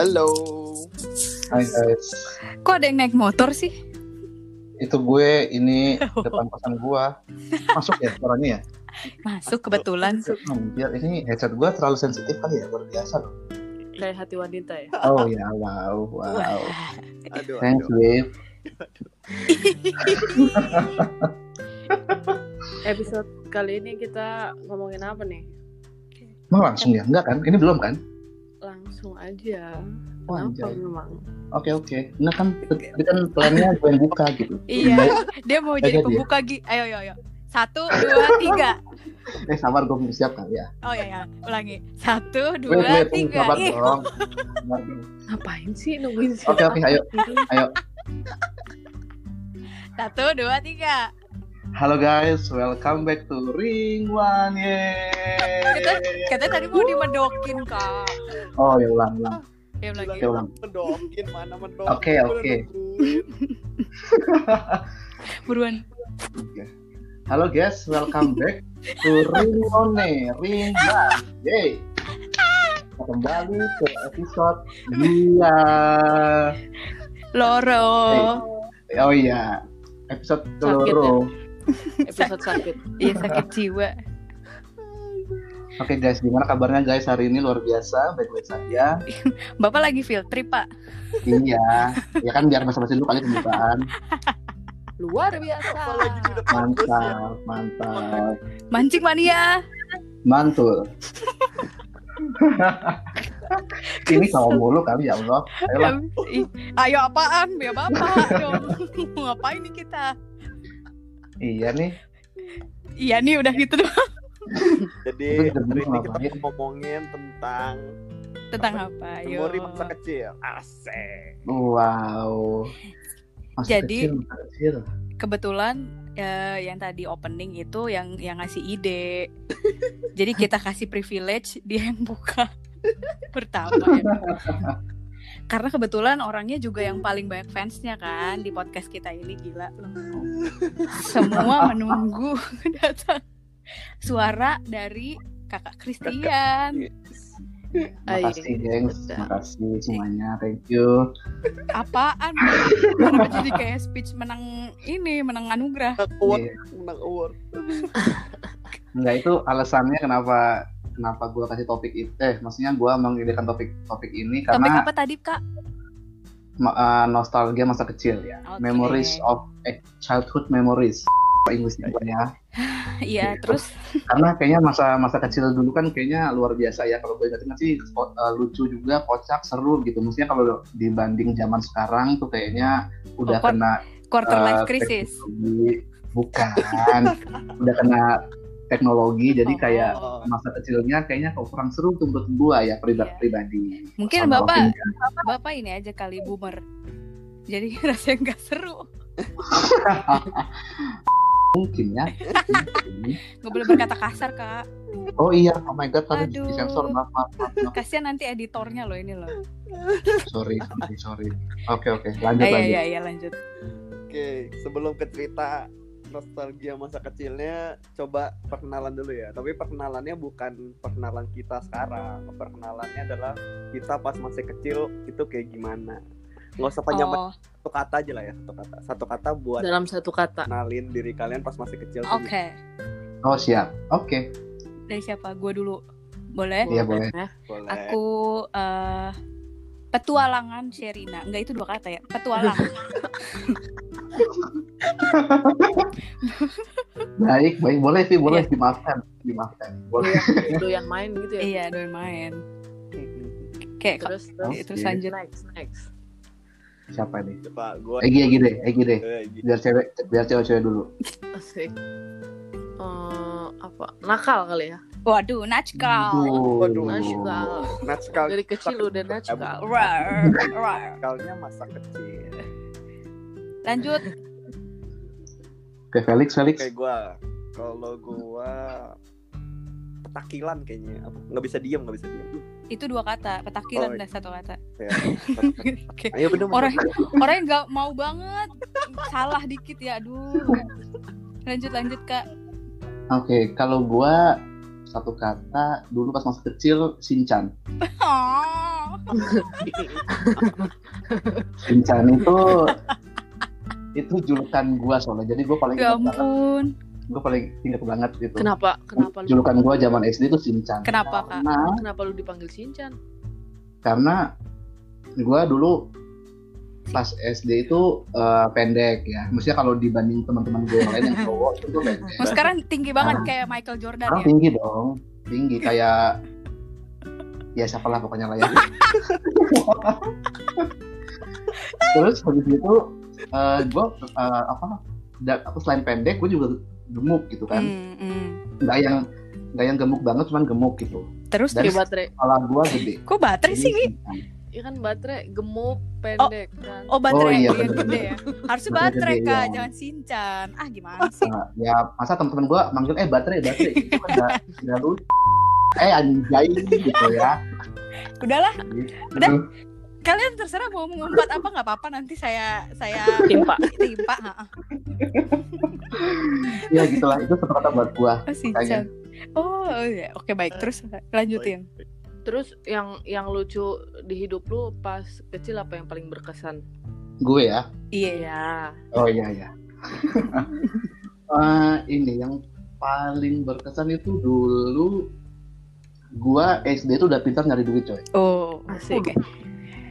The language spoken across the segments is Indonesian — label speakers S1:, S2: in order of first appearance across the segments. S1: Halo.
S2: Hai guys,
S3: Kok ada yang naik motor sih?
S2: itu gue ini depan kosan gue. Masuk ya suaranya ya?
S3: Masuk kebetulan.
S2: Hampir ini headset gue terlalu sensitif kali ya, luar biasa loh.
S4: dari hati wanita ya.
S2: Oh ya, wow, wow.
S3: Wah,
S1: Aduh,
S2: Thanks,
S1: aduh.
S2: babe.
S4: Episode kali ini kita ngomongin apa nih?
S2: Emang langsung ya? Enggak kan? Ini belum kan?
S4: Langsung aja.
S2: Oh,
S4: Kenapa
S2: anjay.
S4: memang?
S2: Oke, oke. Enggak kan, ini kan plannya gue yang buka gitu.
S3: Iya, dia mau
S2: Gak
S3: jadi
S2: jadi ya?
S3: pembuka Gi. Ayo, ayo, ayo. Satu, dua, tiga.
S2: Eh, sabar, gue belum siap kali ya.
S3: Oh ya, ya. Ulangi. Satu, dua,
S2: Wait, wait, tunggu,
S3: tiga. iya.
S2: sabar
S3: Ih,
S2: dong. Sabar dong.
S4: Ngapain sih nungguin sih?
S2: Oke, oke, ayo. Ayo.
S3: Satu, dua, tiga.
S2: Halo guys, welcome back to Ring One. Yeay.
S3: Kita- Katanya tadi mau dimedokin kak.
S2: Oh, ya ulang, ulang.
S3: Ya lagi.
S2: Oke, ulang.
S1: Mendokin mana mendokin.
S2: Oke, oke.
S3: Buruan.
S2: Ya. Halo guys, welcome back to Ringone Ringa. Yay. Kembali ke episode 2.
S3: Loro.
S2: Oh iya, episode keloro.
S4: Episode sakit.
S3: Iya sakit jiwa.
S2: Oke guys, gimana kabarnya guys hari ini luar biasa, baik-baik saja.
S3: Bapak lagi field trip pak.
S2: iya, ya kan biar basa-basi dulu kali pembukaan.
S4: Luar biasa.
S1: Apalagi di depan bus ya.
S2: Mantap, mantap,
S3: Mancing mania.
S2: mantul. ini kamu mulu kami ya Allah. Ayolah.
S3: Ih, Ayo apaan? Ya bapak dong. Mau Ngapain nih kita?
S2: Iya nih.
S3: Iya nih udah gitu doang.
S1: Jadi
S2: Itu
S1: hari ini kita
S2: ngapain?
S1: mau ngomongin tentang
S3: Tentang apa? Ayo.
S1: memori masa kecil. Asik.
S2: Wow. Masa
S3: Jadi-
S2: kecil, masa kecil.
S3: kebetulan eh, yang tadi opening itu yang yang ngasih ide. Jadi kita kasih privilege dia yang buka pertama. ya. Karena kebetulan orangnya juga yang paling banyak fansnya kan di podcast kita ini gila. Semua menunggu datang suara dari kakak Christian. Oh, iya.
S4: Ayo.
S2: Makasih, gengs.
S4: Udah.
S2: Makasih semuanya. Thank you.
S3: Apaan? Kenapa jadi kayak speech menang ini menang anugerah?
S1: Menang award,
S2: Iya.
S1: menang award.
S2: Enggak itu alasannya kenapa kenapa gue kasih topik itu. Eh, maksudnya gue mengidekan topik topik ini
S3: Topik
S2: karena
S3: apa tadi kak?
S2: ma- eh, nostalgia masa kecil ya.
S3: Oke.
S2: Memories of eh, childhood memories. Inggrisnya gua ya.
S3: Iya terus
S2: Karena kayaknya masa masa kecil dulu kan kayaknya luar biasa ya kalau gue ingat sih ko- eh, lucu juga, kocak, seru gitu. Maksudnya kalau dibanding zaman sekarang tuh kayaknya udah
S3: Pokok-
S2: kena
S3: quarter
S2: Eh,
S3: life crisis.
S2: teknologi. bukan udah kena teknologi jadi
S3: Oh.
S2: kayak
S1: Oh,
S2: masa kecilnya kayaknya kok kurang seru tuh menurut gua ya pribadi
S3: Iya.
S2: pribadi
S3: Mungkin
S2: Sama kan,
S3: bapak
S2: opini.
S3: bapak ini aja kali boomer. Jadi rasanya nggak seru.
S2: mungkin ya
S3: Nggak boleh berkata kasar kak.
S2: oh iya oh my god tadi
S3: Aduh.
S2: disensor maaf maaf maaf, maaf.
S3: Kasihan nanti editornya loh ini loh.
S2: sorry sorry sorry oke oke lanjut
S3: Iya
S2: lanjut
S3: iya iya lanjut.
S1: Oke, sebelum ke cerita nostalgia masa kecilnya, coba perkenalan dulu ya. Tapi perkenalannya bukan perkenalan kita sekarang. Perkenalannya adalah kita pas masih kecil itu kayak gimana. Nggak usah panjang
S3: Oh
S1: satu kata aja lah ya, satu kata. Satu kata buat
S4: Dalam satu kata.
S1: kenalin diri kalian pas masih kecil. tuh
S3: oke.
S2: oh siap oke
S3: Dari siapa? Gue dulu. Boleh?
S2: Iya, boleh.
S4: Ya.
S1: Boleh.
S3: Aku eh petualangan Sherina. Enggak itu dua kata ya. Petualang.
S2: baik baik boleh sih boleh
S3: Iya.
S2: dimaafkan dimaafkan boleh
S4: Doyan- Doyan Iya, main gitu ya.
S3: iya, doain main. Kayak
S4: Terus terus
S3: terus gitu lanjut.
S4: next next.
S2: siapa nih
S1: Coba gue.
S2: Egi Egi deh Egi deh
S1: Egi.
S2: biar cewek biar cewek-cewek dulu
S4: Asik. Eh, apa nakal kali ya
S3: Waduh, Natchkal.
S2: Waduh.
S4: nakal
S1: Natskal.
S4: dari kecil udah nakal
S3: Rar, rar.
S1: Natchkalnya masa kecil.
S3: Lanjut.
S2: Oke Felix Felix
S1: Kayak gue. Kalau gue petakilan kayaknya. Apa? Nggak bisa diem, nggak bisa diem.
S3: Itu dua kata.
S1: Oh,
S3: Petakilan dah satu kata.
S1: Ya.
S3: Oke.
S1: Ayo bener bener.
S3: orang orang yang nggak mau banget salah dikit ya aduh lanjut lanjut kak
S2: Oke, kalau gua satu kata dulu pas masa kecil Sinchan.
S3: oh
S2: Iya. Kencan itu itu julukan gua soalnya. Jadi gua paling ingat
S3: Ya
S2: banget,
S3: ampun.
S2: gua paling ingat banget gitu.
S4: Kenapa? Kenapa lu?
S2: Julukan gua zaman SD itu Shinchan.
S3: Kenapa, Kak?
S2: Karena
S4: Kenapa lu dipanggil Shinchan?
S2: karena gua dulu pas SD itu eh, pendek ya. Maksudnya kalau dibanding teman-teman gue yang lain yang cowok itu gua pendek.
S3: Mas sekarang tinggi banget
S2: Ah.
S3: kayak Michael Jordan
S2: Sekarang
S3: ya.
S2: tinggi dong, tinggi kayak ya siapa lah pokoknya lah ya. Terus habis itu eh gue apa da- apa selain pendek gue juga gemuk gitu kan,
S3: Hmm, hmm.
S2: nggak yang nggak yang gemuk banget cuman gemuk gitu.
S3: Terus
S2: Dan-
S4: Ya
S3: terus
S4: baterai.
S2: Kepala gue gede.
S3: kok baterai
S2: Oh,
S3: sih?
S2: iya.
S3: Wi?
S4: Ya kan baterai gemuk, pendek kan.
S3: Oh baterai
S2: Oh, iya,
S3: iya,
S2: bener-bener.
S3: gede ya. Harusnya
S2: Baterai
S3: baterai
S2: gede,
S3: kak,
S2: iya.
S3: jangan sincan. Ah gimana sih?
S2: Nah, ya masa teman-teman gue manggil eh baterai baterai itu kan nggak nggak lucu. Eh anjay gitu ya.
S3: Udahlah,
S2: Gitu.
S3: Udah? kalian terserah mau mengumpat apa nggak apa-apa nanti saya saya
S4: Timpa.
S3: timpa. ha, ha.
S2: Ya gitulah itu sepatu buat gue.
S3: Oh sincan. Oh iya. oke baik terus lanjutin.
S4: Terus yang yang lucu di hidup lu pas kecil apa yang paling berkesan?
S2: Gue ya.
S3: Iya.
S4: Iya.
S2: Oh iya iya. Eh, ini yang paling berkesan itu dulu gua SD itu udah pintar nyari duit coy.
S3: Oh
S4: Asik.
S3: oke.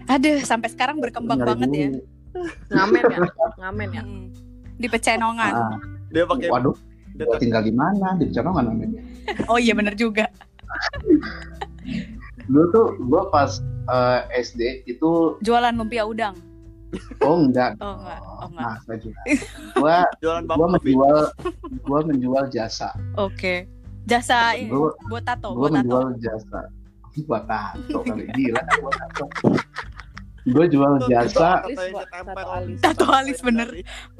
S3: Aduh sampai sekarang berkembang
S2: Nyari
S3: banget ya.
S2: duit.
S4: Ngamen ya? Ngamen ya?
S3: Mm. Di pecenongan.
S2: Ah,
S1: Dia pakai
S2: waduh,
S1: dia
S2: gua tinggal di mana? Di Pecenongan namanya.
S3: Oh iya bener juga.
S2: Dulu tuh gua pas eh, SD itu
S3: Jualan lumpia udang.
S2: oh enggak.
S3: Oh enggak. Oh enggak.
S2: Nah, saya juga. Gua
S1: jualan
S2: gua
S1: bapak Wi.
S2: menjual gua menjual jasa.
S3: Oke. Jasa ini
S2: Gua-
S3: buat tato,
S2: gue
S3: buat tato.
S2: menjual jasa buat tato kali gila kan buat tato gue jual jasa
S4: Alis, Wak.
S1: Tato
S4: Tato
S1: alis.
S4: alis.
S3: Tato alis, bener.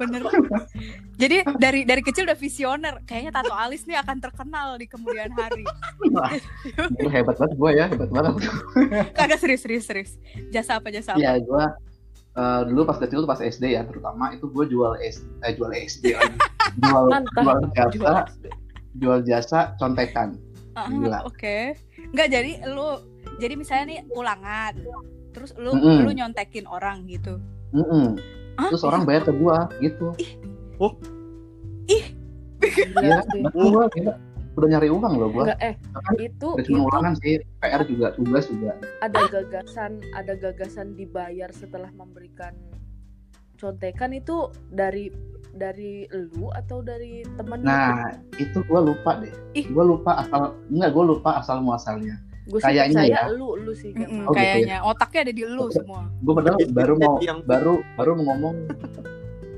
S3: Bener. Jadi dari dari kecil udah visioner. Kayaknya tato alis nih akan terkenal di kemudian hari.
S2: Gua hebat banget gue ya hebat banget
S4: Iya.
S3: Kagak serius serius serius. Jasa apa jasa apa?
S2: ya gue eh, dulu pas kecil tuh pas SD ya terutama itu gue jual es eh, jual SD lagi. jual
S4: Mantap.
S2: jual jasa
S4: Jual.
S2: jual jasa contekan
S3: Ah,
S2: gila.
S3: Oke. Enggak jadi lu jadi misalnya nih ulangan. Terus lu
S2: Mm-mm.
S3: lu nyontekin orang gitu.
S2: Mm-mm.
S3: Ah,
S2: terus orang bayar ke gue gitu
S4: Iya
S2: Iya,
S4: sih.
S2: gue udah nyari uang loh gue
S4: Enggak Iya. eh
S2: Bahkan
S4: itu
S2: udah
S4: itu
S2: cuma ulangan sih PR juga tugas juga
S4: ada gagasan ada gagasan dibayar setelah memberikan contekan itu dari dari lu atau dari temen lu?
S2: Nah, itu gue lupa deh.
S3: Ih.
S2: Gue lupa asal enggak gue lupa asal muasalnya.
S4: gue sih
S2: kayaknya
S4: percaya
S2: ya.
S4: lu lu sih yang
S3: Mm-mm,
S2: Oh, gitu ya.
S3: kayaknya otaknya ada di lu semua.
S2: Gue padahal
S1: Itu
S2: baru mau
S1: yang-
S2: baru baru mau ngomong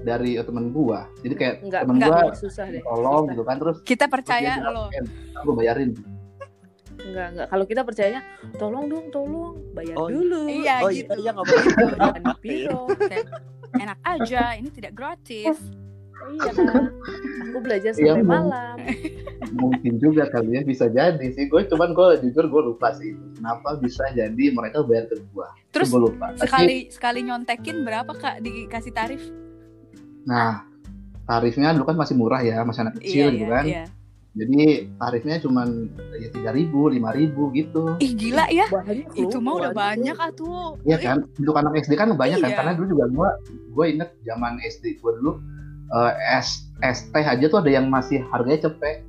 S2: dari temen gue. Jadi kayak
S4: Enggak,
S2: temen
S3: enggak,
S2: gue
S4: enggak, susah deh.
S2: tolong
S4: Susah.
S2: gitu kan terus
S3: Kita percaya lo.
S2: Gue bayarin.
S4: Enggak, enggak. Kalau kita percayanya, tolong dong, tolong bayar
S1: Oh,
S4: dulu.
S3: Iya
S1: Oh iya
S3: gitu.
S1: iya nggak boleh.
S4: Jangan dipiro.
S3: Enak aja, ini tidak gratis.
S4: Iya kan. Aku belajar
S2: Iya,
S4: sampai
S2: Bang.
S4: malam.
S2: Mungkin juga kali ya bisa jadi sih. Gue cuman gue jujur gue lupa sih. Kenapa bisa jadi mereka bayar ke gue?
S3: Terus
S2: gue lupa. Tapi,
S3: sekali sekali nyontekin berapa kak dikasih tarif?
S2: nah tarifnya dulu kan masih murah ya, masih anak kecil gitu kan.
S3: iya.
S2: Jadi tarifnya cuman ya tiga ribu, lima ribu gitu.
S3: Ih gila ya,
S4: Banyak lu,
S3: itu mah udah
S4: waduh.
S3: banyak atuh.
S2: Iya kan, untuk anak SD kan banyak kan,
S3: Iya.
S2: karena dulu juga gua gua inget zaman SD gua dulu eh, es es teh aja tuh ada yang masih harganya cepet,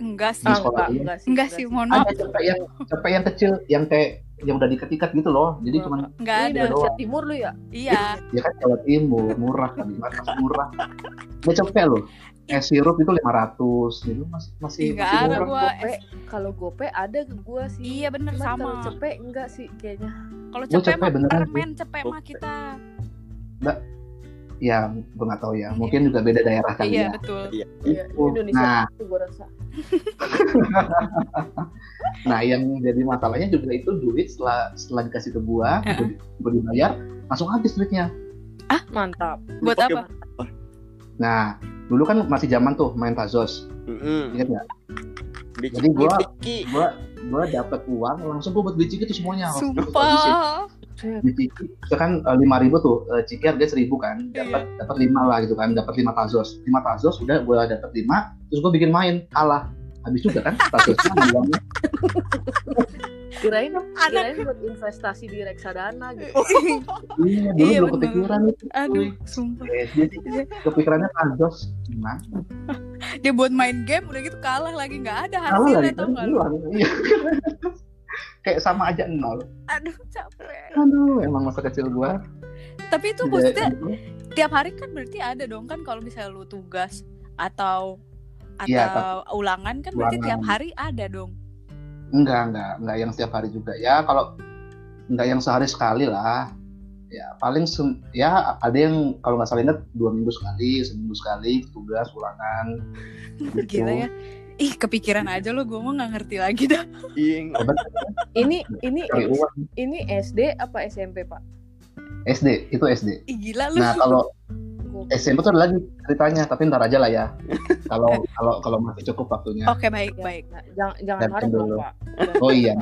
S3: Enggak sih.
S4: Ah,
S2: Di sekolah
S4: enggak,
S2: ini.
S4: enggak sih.
S3: Enggak sih, mohon maaf.
S2: ada cepet yang cepet yang kecil, yang kayak yang udah diket-iket gitu loh,
S3: Iya.
S2: jadi cuma
S3: Enggak
S4: Lu
S2: iya,
S3: ada.
S4: Indonesia Timur lu ya?
S3: Iya.
S2: ya kan Jawa Timur murah kan, Mas, masih murah, dia cepet loh, es sirup itu 500 gitu masih masih,
S3: Ih, nggak
S2: masih
S3: ada
S2: murah.
S3: gua.
S4: Gope, kalau gope ada ke gua sih.
S3: Iya bener
S4: Cuman
S3: sama.
S4: Kalau cepe enggak sih kayaknya.
S3: Kalau
S2: Gua
S3: cepet
S2: Oh, capek
S3: mah
S2: beneran sih.
S3: permen cepet mah kita.
S2: Ya gua nggak tahu ya, mungkin juga beda daerah kali ya.
S3: Iya betul.
S1: Iya.
S4: Iya,
S2: Oh,
S4: Indonesia
S2: nah.
S4: itu gua rasa.
S2: Nah, yang jadi masalahnya juga itu duit setelah setelah dikasih ke gua, gua di- gua dibayar, langsung habis duitnya.
S4: Mantap.
S3: Buat
S1: Pakai-
S3: apa?
S2: Nah, dulu kan masih zaman tuh main Tazos,
S1: Mm-mm.
S2: ingat nggak?
S1: Dikit,
S2: Jadi gua-
S1: dikit.
S2: Gua gua dapat uang, langsung gua buat beli ciki itu semuanya. Langsung gua habisin.
S3: Sumpah.
S2: Beli ciki, itu kan lima ribu tuh, eh, ciki harga seribu
S3: Iya,
S2: kan, dapat dapat lima lah gitu kan, dapat lima Tazos, lima Tazos udah gua dapat lima, terus gua bikin main, kalah. habis juga kan statusnya uangnya.
S4: kirain
S3: Anak-
S4: kirain buat investasi di reksadana gitu
S2: Iya, dulu
S3: Iya,
S2: belum
S3: bener.
S2: kepikiran itu.
S3: Aduh, sumpah.
S2: SD sih kepikirannya Thanos gimana?
S3: Dia buat main game udah gitu kalah lagi nggak ada
S2: Kalah lagi
S3: hasilnya
S2: kan
S3: tau nggak lu?
S2: hilang. Iya. Kayak sama aja nol.
S3: Aduh, capek.
S2: Aduh, emang masa kecil gua. Iya,
S3: Tapi itu
S2: tidak-
S3: maksudnya tiap hari kan berarti ada dong kan kalau misalnya lu tugas atau
S2: Iya,
S3: atau ulangan kan berarti
S2: Ulangan.
S3: tiap hari ada dong.
S2: Enggak, enggak, enggak yang setiap hari juga ya. Kalau enggak yang sehari sekali lah. Ya paling sem- ya ada yang kalau nggak salah ingat dua minggu sekali, seminggu sekali tugas ulangan. Gitu.
S3: Gila ya. Ih, kepikiran
S2: Iya.
S3: aja lu, gue mau nggak ngerti lagi dah.
S1: Ing.
S4: ini ini
S2: Cari uang.
S4: ini SD apa SMP pak
S2: SD itu SD.
S3: Ih, gila lu.
S2: Nah kalau
S4: Gua-
S2: SMP tuh ada lagi ceritanya, tapi ntar aja lah ya. Kalau kalau kalau masih cukup waktunya.
S3: Oke, baik,
S4: Ya,
S3: baik.
S4: nah, jangan jangan
S2: Datang
S4: harap dong
S2: dulu.
S4: pak
S2: Oh iya,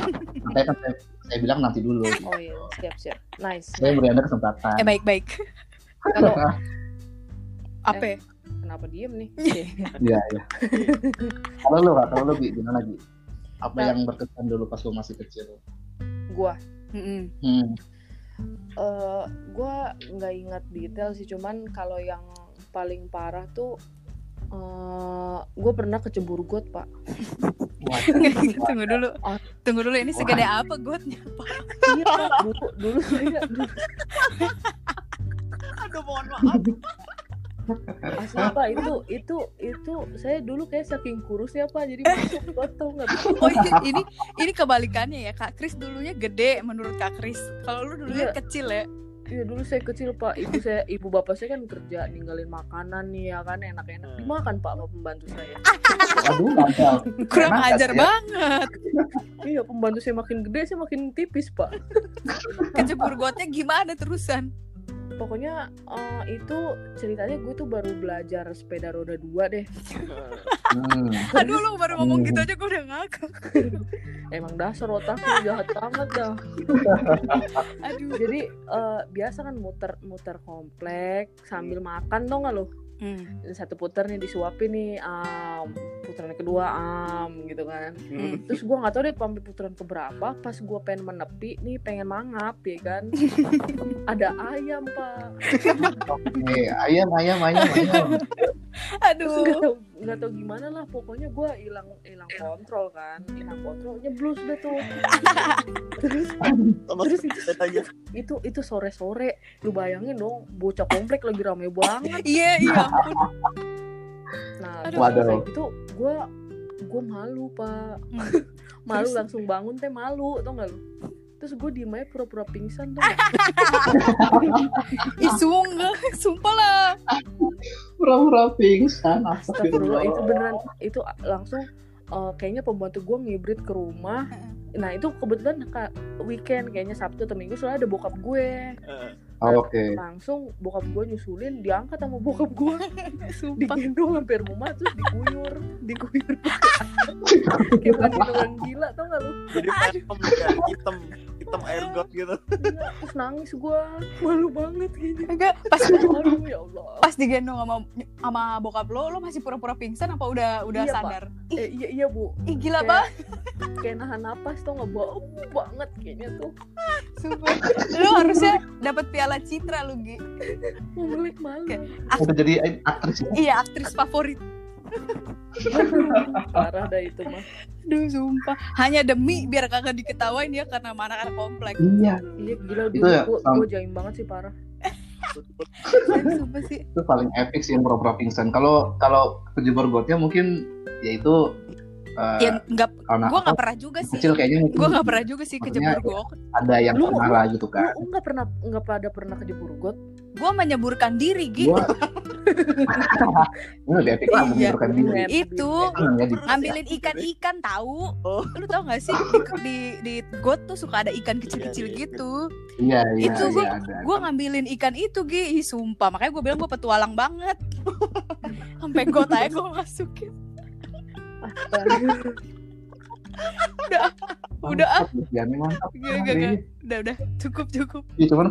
S2: makanya kan saya, saya bilang nanti dulu.
S4: oh iya siap siap nice
S2: Saya beri anda kesempatan.
S3: Eh, baik, baik.
S4: kalau
S3: Apa ya?
S4: kenapa diem nih
S2: Iya iya. Kalau lu Kak, kalau lu Bi, gimana lagi? Apa
S4: Nah.
S2: yang berkesan dulu pas lu masih kecil?
S4: gua
S3: Mm-mm.
S2: Hmm.
S4: eh gue nggak ingat detail sih cuman kalau yang paling parah tuh eh gue pernah kecebur got pak
S2: Wah,
S3: Tunggu dulu.
S4: Oh.
S3: Tunggu dulu ini segede apa gotnya?
S4: iya Pak. dulu dulu iya. saya
S3: Aduh, mohon maaf.
S4: asli pak itu itu itu saya dulu kayak saking kurusnya pak jadi masuk got tau nggak Pak?
S3: Oh, ini, ini ini kebalikannya ya. Kak Kris dulunya gede menurut Kak Kris. Kalau lu dulunya
S4: Iya.
S3: kecil ya.
S4: iya dulu saya kecil pak ibu saya ibu bapak saya kan kerja ninggalin makanan nih ya kan enak-enak dimakan pak sama pembantu saya
S2: Aduh, mantap.
S3: Kurang
S2: Emang
S3: ajar
S2: kasih ya?
S3: banget.
S4: iya pembantu saya makin gede saya makin tipis pak
S3: Kecebur gotnya gimana terusan?
S4: pokoknya eh, itu ceritanya gue tuh baru belajar sepeda roda dua deh
S2: Hmm.
S3: Aduh, lu baru ngomong gitu aja gue udah ngakak.
S4: emang dasar otaknya jahat banget dah
S3: Aduh.
S4: jadi eh, biasa kan muter muter komplek sambil makan dong nggak lo
S3: Hmm.
S4: satu puter nih disuapin nih am putaran kedua am gitu kan
S3: hmm.
S4: terus gua nggak tahu deh sampai putaran keberapa pas gua pengen menepi nih pengen mangap ya kan ada ayam pak
S2: Oke, Eh, ayam, ayam, ayam, ayam.
S4: terus nggak
S3: Aduh. Hmm. Eh.
S4: tahu nggak tahu gimana lah pokoknya gua hilang hilang kontrol kan hilang kontrol nyeblus deh tuh terus
S1: Sama
S4: Terus
S1: ceritanya.
S4: itu itu sore sore lu bayangin dong bocah komplek lagi rame banget
S3: Iya, iya ampun.
S4: Nah,
S3: Aduh.
S4: terus
S2: Waduh.
S4: kayak gitu gue gue malu pak,
S3: Hmm.
S4: malu
S3: Terus?
S4: langsung bangun teh malu, tau gak lu? Terus gue diem aja pura-pura pingsan tuh.
S3: Ih, sungguh. Sumpah lah.
S2: Pura-pura pingsan.
S4: Astagfirullah itu beneran itu langsung eh, kayaknya pembantu gue ngibrit ke rumah.
S3: Hmm.
S4: Nah itu kebetulan ka- weekend kayaknya Sabtu atau Minggu soalnya ada bokap gue.
S1: Eh,
S2: Oh, Oke.
S4: Langsung bokap gue nyusulin diangkat sama bokap gue
S3: Sumpah.
S4: digendong hampir rumah terus diguyur diguyur kayak mati orang gila tau gak lu?
S1: Jadi hitam ya, hitam, hitam air got gitu.
S4: Iya, terus nangis gue malu banget kayaknya.
S3: Enggak, pas
S4: Aduh ya Allah.
S3: pas digendong sama sama bokap lo, lo masih pura-pura pingsan apa udah udah
S4: Iya, Pak.
S3: sadar?
S4: Eh, iya iya bu.
S3: Ih, gila
S4: Kayak-
S3: banget.
S4: Kayak nahan napas tuh nggak bau banget kayaknya tuh.
S3: Sumpah. Lo harusnya dapat piala Citra lu, Gi.
S4: Ngulik malu.
S2: Udah jadi aktris ya?
S3: Iya, aktris favorit.
S4: Parah dah itu mah.
S3: Aduh, sumpah. Hanya demi biar kagak diketawain ya karena sama anak-anak komplek.
S2: Iya,
S4: Iya gila
S2: Itu
S4: dulu
S2: ya,
S4: gue
S2: sama.
S4: gue jaim banget sih parah.
S3: sumpah sih.
S2: itu paling epic sih yang pura-pura pingsan. Kalau kalau kejebur gotnya mungkin yaitu eh,
S3: Ya enggak
S2: karena
S3: gua nggak
S2: apa,
S3: pernah juga sih.
S2: oh, kecil kayaknya mungkin
S3: Gue nggak pernah juga sih
S2: Maksudnya-
S3: kejebur gok.
S2: ada yang
S4: Lu-
S2: pernah
S4: lu-
S2: lah gitu kan.
S4: Lu nggak pernah nggak pada pernah kejebur got?
S3: Gue menyeburkan diri, Gi.
S2: Gua ini lebih epic lah
S3: Iya,
S2: menundurkan diri.
S4: bener.
S3: Itu
S2: Tangan ya, gitu.
S3: ngambilin ikan-ikan tahu
S1: Oh.
S3: lu tau gak sih di di, di got tuh suka ada ikan kecil-kecil
S1: Iya, iya.
S3: gitu
S2: Iya, iya,
S3: Itu
S2: iya,
S3: gua-
S2: ada.
S3: gue ngambilin ikan itu gi Ih, sumpah makanya gue bilang gue petualang banget sampai got aja gue masukin udah
S4: Eh,
S2: Mantap, Luciani, mantap.
S3: ah. Gak, gak, gak. udah udah cukup cukup
S2: Iya, cuman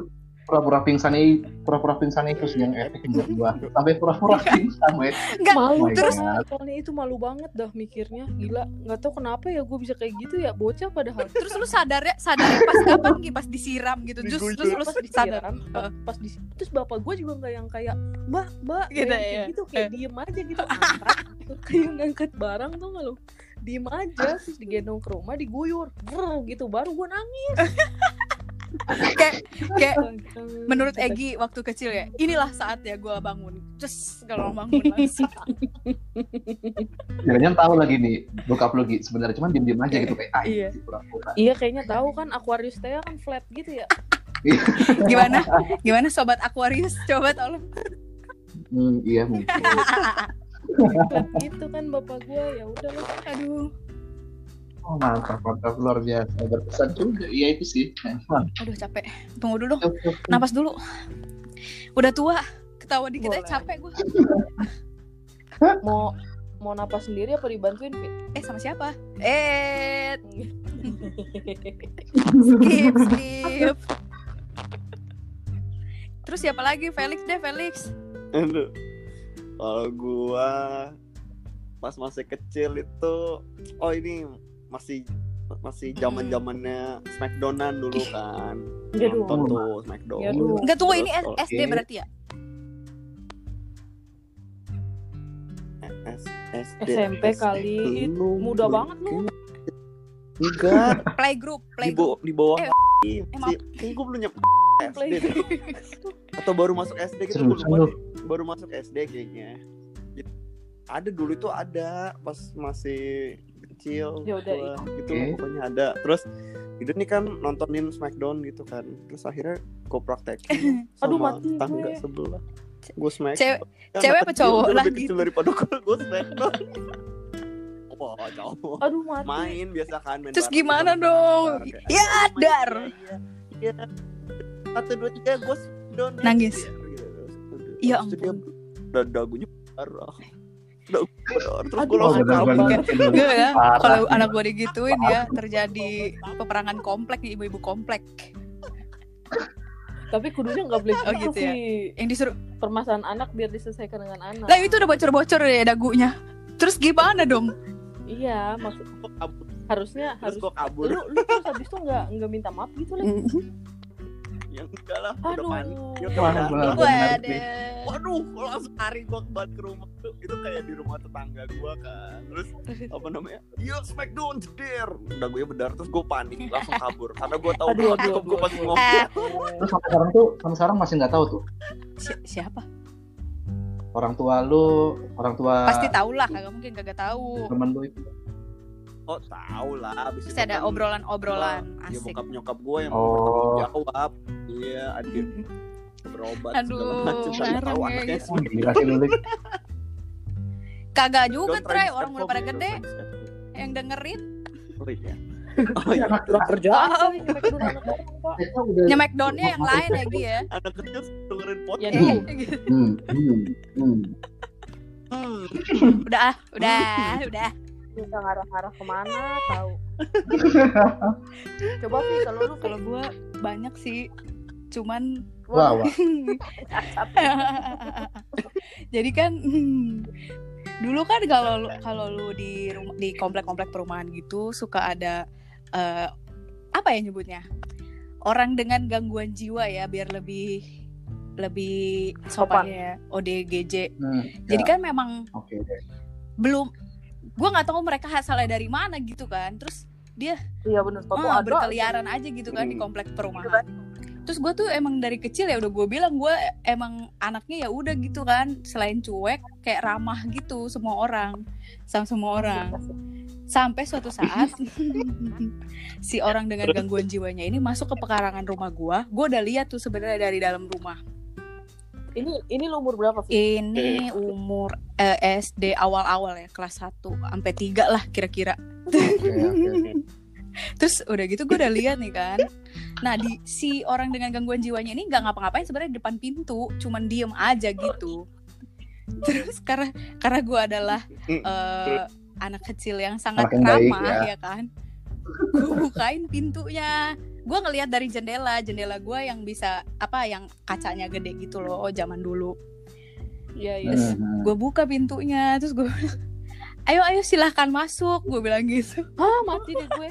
S2: pura-pura pingsan i- pura-pura pingsan itu sih yang epic menurut gua sampai pura-pura
S3: Iya.
S2: pingsan weh
S3: Enggak,
S4: malu
S2: my
S4: terus
S2: God.
S4: soalnya itu malu banget dah mikirnya gila nggak tahu kenapa ya gue bisa kayak gitu ya bocah padahal
S3: Nah, Terus lu sadarnya sadarnya pas kapan Ki? Pas disiram gitu. Terus
S1: Diguyur.
S3: terus lu
S4: pas
S3: sadar.
S4: disiram pas, pas disi- terus bapak gue juga nggak yang kayak mbak mbak
S3: Gitu
S4: kayak
S3: ya.
S4: gitu kayak diem aja gitu ngangkat gitu. kayak ngangkat barang tuh nggak lo diem aja terus digendong ke rumah diguyur Brr, gitu baru gue nangis
S3: Kayak kayak
S4: Bangsa.
S3: Eh, menurut Egi waktu kecil ya, inilah saatnya gua bangun. Terus kalau bangun langsung.
S2: jangan tahu lagi nih bokap lu Gi. sebenarnya cuman diem-diem aja gitu kayak ah
S4: Iya.
S2: ini pura-pura
S4: iya kayaknya tahu kan Aquarius teh kan flat gitu ya
S3: Gimana? Gimana sobat Aquarius? Coba tolong.
S2: Hmm, iya mungkin
S4: flat gitu kan bapak gue ya udah lah
S3: Aduh.
S2: oh, mantap mantap luar biasa berkesan juga iya itu sih Mantap.
S3: Aduh capek. Tunggu dulu. Napas dulu. Udah tua. Ketawa dikit aja
S4: Boleh.
S3: capek gua.
S4: mau mau napas sendiri apa dibantuin Fit?
S3: Eh sama siapa? Eh, skip, skip. Terus siapa lagi? Felix deh, Felix.
S1: Aduh. Kalau gua pas masih kecil itu oh ini masih masih zaman-zamannya Smackdownan dulu kan.
S4: Aduh.
S1: Nonton tuh Smackdown.
S4: Ya, aduh.
S3: Enggak tunggu ini
S1: Terus,
S3: SD
S1: oke.
S3: berarti ya?
S1: S- SD.
S4: SMP kali.
S1: Belum,
S4: muda
S1: belum.
S4: banget lu.
S1: Enggak,
S3: Playgroup,
S1: di,
S3: playgroup.
S1: bo- di bawah
S3: Eh,
S1: si,
S3: maaf.
S1: kayaknya gue belum nyampe SD
S4: Play-
S1: deh. atau baru masuk SD gitu
S2: Seru,
S1: gue lupa
S2: seru.
S1: deh. baru masuk SD kayaknya Gitu. ada dulu itu ada pas masih kecil
S3: Iya,
S4: Ya udah,
S1: gua. gitu
S2: Oke.
S1: pokoknya ada terus itu nih kan nontonin Smackdown gitu kan terus akhirnya gue praktekin sama
S4: Aduh, mati gue.
S1: tangga sebelah gue smack
S3: ya. Cewek-
S1: Ya,
S3: cewek
S1: anak
S3: apa
S1: kecil,
S3: cowok
S1: dia lebih
S3: lagi?
S1: kecil daripada gue gue smackdown wah cowok
S4: Aduh mati.
S1: main biasa kan main
S3: Terus
S1: bareng,
S3: gimana
S1: bareng,
S3: dong?
S1: bareng, kayak,
S3: Ya,
S1: "Ayo, main,
S3: dar."
S1: iya, iya. satu dua tiga gue down ya.
S3: Nangis.
S1: Gitu.
S3: Ya
S1: Terus dia da- dagunya parah dagu parah terus
S4: Aduh,
S1: gue
S2: oh
S1: langsung kabur
S2: benar-benar
S3: Enggak ya?
S2: Parah.
S3: Kalau anak gue digituin ya terjadi peperangan komplek di ibu-ibu komplek.
S4: Tapi kudunya nggak boleh
S3: Oh, gitu
S4: gitu
S3: ya.
S4: sih.
S3: Yang disuruh,
S4: Permasalahan anak biar diselesaikan dengan anak.
S3: lah iya. itu udah bocor-bocor ya dagunya. Terus gimana dong?
S4: Iya, maksud
S1: Gua kabur.
S4: harusnya
S1: terus
S4: harus
S1: gue kabur
S4: lu lu terus habis itu nggak nggak minta maaf gitu lagi.
S1: ya enggak lah udah
S4: Aduh.
S1: panik ya
S2: Wah,
S1: udah
S2: benar.
S3: ya. Waduh.
S1: Waduh, gua langsung lari gue kembali ke rumah tuh. Itu kayak di rumah tetangga gue kan. Terus apa namanya? Yuk smackdown jedir. Udah gue bedar terus gue panik langsung kabur karena gue tahu
S4: Aduh,
S1: banget
S4: aduh,
S1: nyokap gue
S4: aduh,
S1: pasti
S4: aduh.
S1: ngomong.
S3: Eh,
S2: terus sampai sekarang tuh sampai sekarang masih nggak tahu tuh
S3: si- siapa?
S2: orang tua lu orang tua
S3: Pasti tau lah, kagak mungkin kagak tahu.
S2: teman lu itu
S1: Oh, tahu lah. Abis
S3: Terus
S1: itu
S3: ada
S1: kan
S3: obrolan-obrolan
S1: Dia
S3: asik.
S1: iya, bokap nyokap gue yang
S2: Oh.
S1: bertanggung jawab. Iya, adik berobat segala
S3: Aduh,
S1: macam. Kagak tahu
S3: ngarang ya
S1: anaknya
S3: gitu.
S2: oh, gila sih lu Lik.
S3: Kagak juga,
S1: Don't try to
S3: Trey. kan Orang udah
S1: step
S3: pada
S1: up,
S3: gede
S1: don't try to step
S3: yang dengerin.
S1: up. Oh iya. Oh iya.
S4: Udah kerjaan
S3: Oh.
S4: kali, sampai kedua anak orang, Pak.
S2: Ternyata udah
S3: Nyemek down-nya yang lain ya, Gi ya. Gitu.
S1: Anak kecil dengerin
S4: Ya
S1: podcast.
S2: Iya.
S4: dulu.
S2: hmm, hmm, hmm.
S1: Hmm.
S3: Udah, ah, udah, udah.
S4: bisa ngarah-ngarah kemana tahu. Coba sih kalau lu gitu.
S3: Kalau gue banyak sih, cuman
S2: wah wah
S3: Jadi kan hmm, dulu kan kalau lu- kalau lu di rumah, di komplek-komplek perumahan gitu suka ada eh, apa ya nyebutnya? Orang dengan gangguan jiwa ya biar lebih lebih Iya, sopannya ODGJ.
S2: Hmm,
S3: Jadi
S2: ya,
S3: kan memang
S2: oke
S3: belum gue nggak tahu mereka asalnya dari mana gitu kan. Terus
S4: iya benar
S3: Oh, berkeliaran aja gitu kan di
S1: Hmm.
S3: komplek perumahan. Terus gue tuh emang dari kecil ya udah gue bilang gue emang anaknya ya udah gitu kan selain cuek kayak ramah gitu semua orang sama semua orang sampai suatu saat si orang dengan gangguan jiwanya ini masuk ke pekarangan rumah gue gue udah lihat tuh sebenarnya dari dalam rumah
S4: Ini ini lu umur berapa sih?
S3: ini umur eh, SD awal-awal ya kelas 1 sampai 3 lah kira-kira
S2: oke oke oke.
S3: Terus udah gitu gue udah lihat nih kan. Nah di si orang dengan gangguan jiwanya ini nggak ngapa-ngapain sebenarnya di depan pintu, cuman diem aja gitu. Terus karena karena gue adalah eh, anak kecil yang
S2: Anak
S3: sangat ya
S2: yang baik,
S3: ramah ya. kan, gue bukain pintunya, gue ngelihat dari jendela jendela gue yang bisa apa yang kacanya gede gitu loh zaman dulu
S4: Iya, iya.
S3: Terus gue buka pintunya terus gue ayo ayo silahkan masuk gue bilang gitu
S4: Hah, mati deh gue.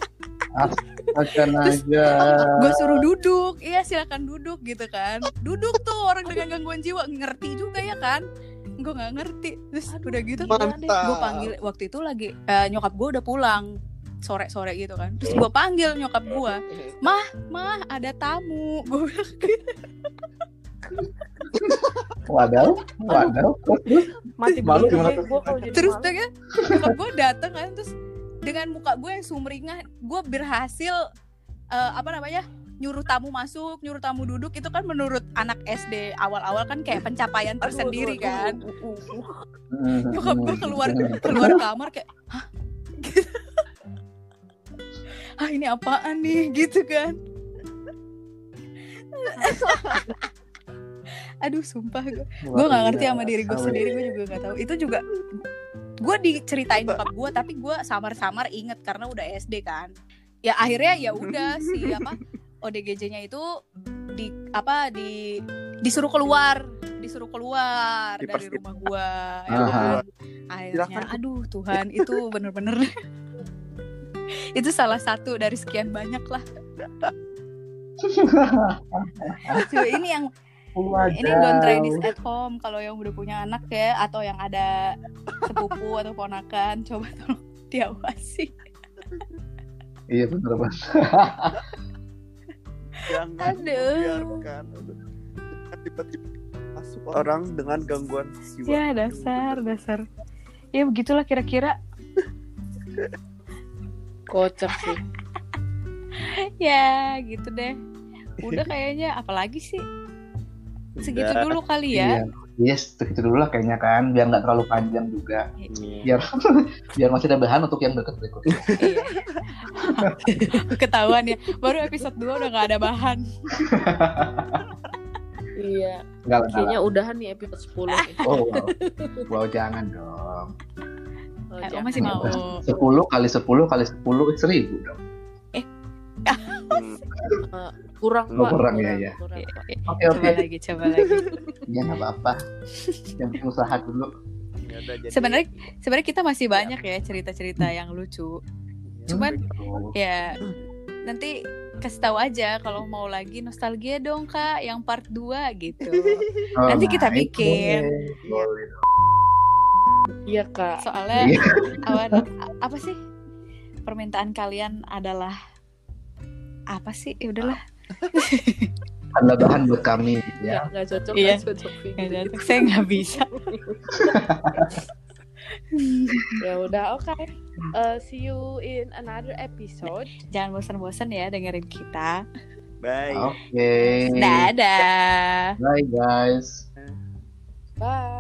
S2: akan
S3: Terus-
S2: aja
S4: Eh,
S3: gue suruh duduk iya silahkan duduk gitu kan duduk tuh orang dengan gangguan jiwa ngerti juga ya kan gue nggak ngerti terus
S4: Aduh,
S3: udah gitu
S4: gimana deh?
S1: Mantap.
S3: gue panggil waktu itu lagi eh, nyokap gue udah pulang sore sore gitu kan terus gue panggil nyokap gue mah ada tamu gue bilang gitu.
S2: waduh waduh
S4: Mati
S2: Malu
S4: deh
S2: gimana
S4: gue,
S2: tuh?
S4: gue kalau jadi
S3: terus
S4: malu.
S3: tuh kan nyokap gue dateng kan terus dengan muka gue yang sumringah gue berhasil eh, apa namanya nyuruh tamu masuk nyuruh tamu duduk itu kan menurut anak SD awal-awal kan kayak pencapaian
S4: Aduh,
S3: tersendiri
S4: aduh, aduh,
S3: kan
S4: aduh, aduh, aduh.
S2: Iya,
S3: nyokap gue keluar keluar kamar kayak hah Gitu. ah ini apaan nih gitu kan aduh sumpah gue gue nggak ngerti Iya, sama diri gue sendiri gue juga nggak tahu itu juga gue diceritain bokap gue tapi gue samar-samar inget karena udah SD kan ya akhirnya ya udah si apa ODGJ-nya itu di apa di disuruh keluar disuruh keluar dari
S1: Dipersilakan.
S3: rumah gue
S2: Aha.
S3: akhirnya
S1: Silakan.
S3: aduh Tuhan itu bener-bener itu salah satu dari sekian banyak lah Cuy, ini yang ini don't try this at home kalau yang udah punya anak ya atau yang ada sepupu atau ponakan coba tolong diawasi
S2: iya bener banget
S1: jangan
S3: Aduh.
S1: biarkan tiba-tiba masuk orang dengan gangguan jiwa
S3: ya dasar dasar ya begitulah kira-kira
S4: Kocak sih.
S3: ya gitu deh udah kayaknya apalagi sih segitu
S1: Udah.
S3: dulu kali
S2: iya
S3: ya
S2: yes segitu dulu lah kayaknya kan biar nggak terlalu panjang juga
S1: Iya.
S2: biar biar masih ada bahan untuk yang deket berikutnya
S3: Iya. ketahuan ya baru episode 2 udah nggak ada bahan
S4: Iya. Eh,
S2: nggak lah nggak lah
S4: Kayaknya udahan nih episode 10 nih.
S2: oh wow. wow jangan dong
S4: Oh,
S3: Eh,
S4: jangan.
S3: masih mau
S2: sepuluh kali sepuluh kali sepuluh seribu dong
S1: Hmm.
S4: kurang
S2: Lu
S4: Pak,
S2: kurang, ya, ya.
S4: kurang, Pak.
S2: oke
S3: Iya, coba
S2: oke
S3: lagi coba lagi
S2: ya nggak apa-apa yang penting usaha dulu
S1: Ya udah, jadi-
S3: sebenarnya sebenarnya kita masih banyak ya cerita-cerita yang lucu Cuman-
S2: Tuh.
S3: ya nanti kasih tahu aja kalau mau lagi nostalgia dong kak yang part 2 gitu
S2: Oh,
S3: nanti kita
S2: nah, itu
S3: bikin.
S2: boleh. Boleh.
S4: Iya kak.
S3: soalnya
S2: Iya.
S3: awan a- apa sih permintaan kalian adalah apa sih ya udahlah
S2: ada bahan buat kami
S4: Nggak-
S2: ya
S4: nggak cocok.
S3: Iya.
S4: nggak cocok kayak
S3: Nggak
S4: gitu.
S3: jatuh. saya nggak bisa
S4: Ya udah oke. Eh, see you in another episode.
S3: jangan bosan-bosan ya dengerin kita
S1: bye
S3: Iya.
S2: oke
S3: dadah
S2: bye guys
S4: Bye.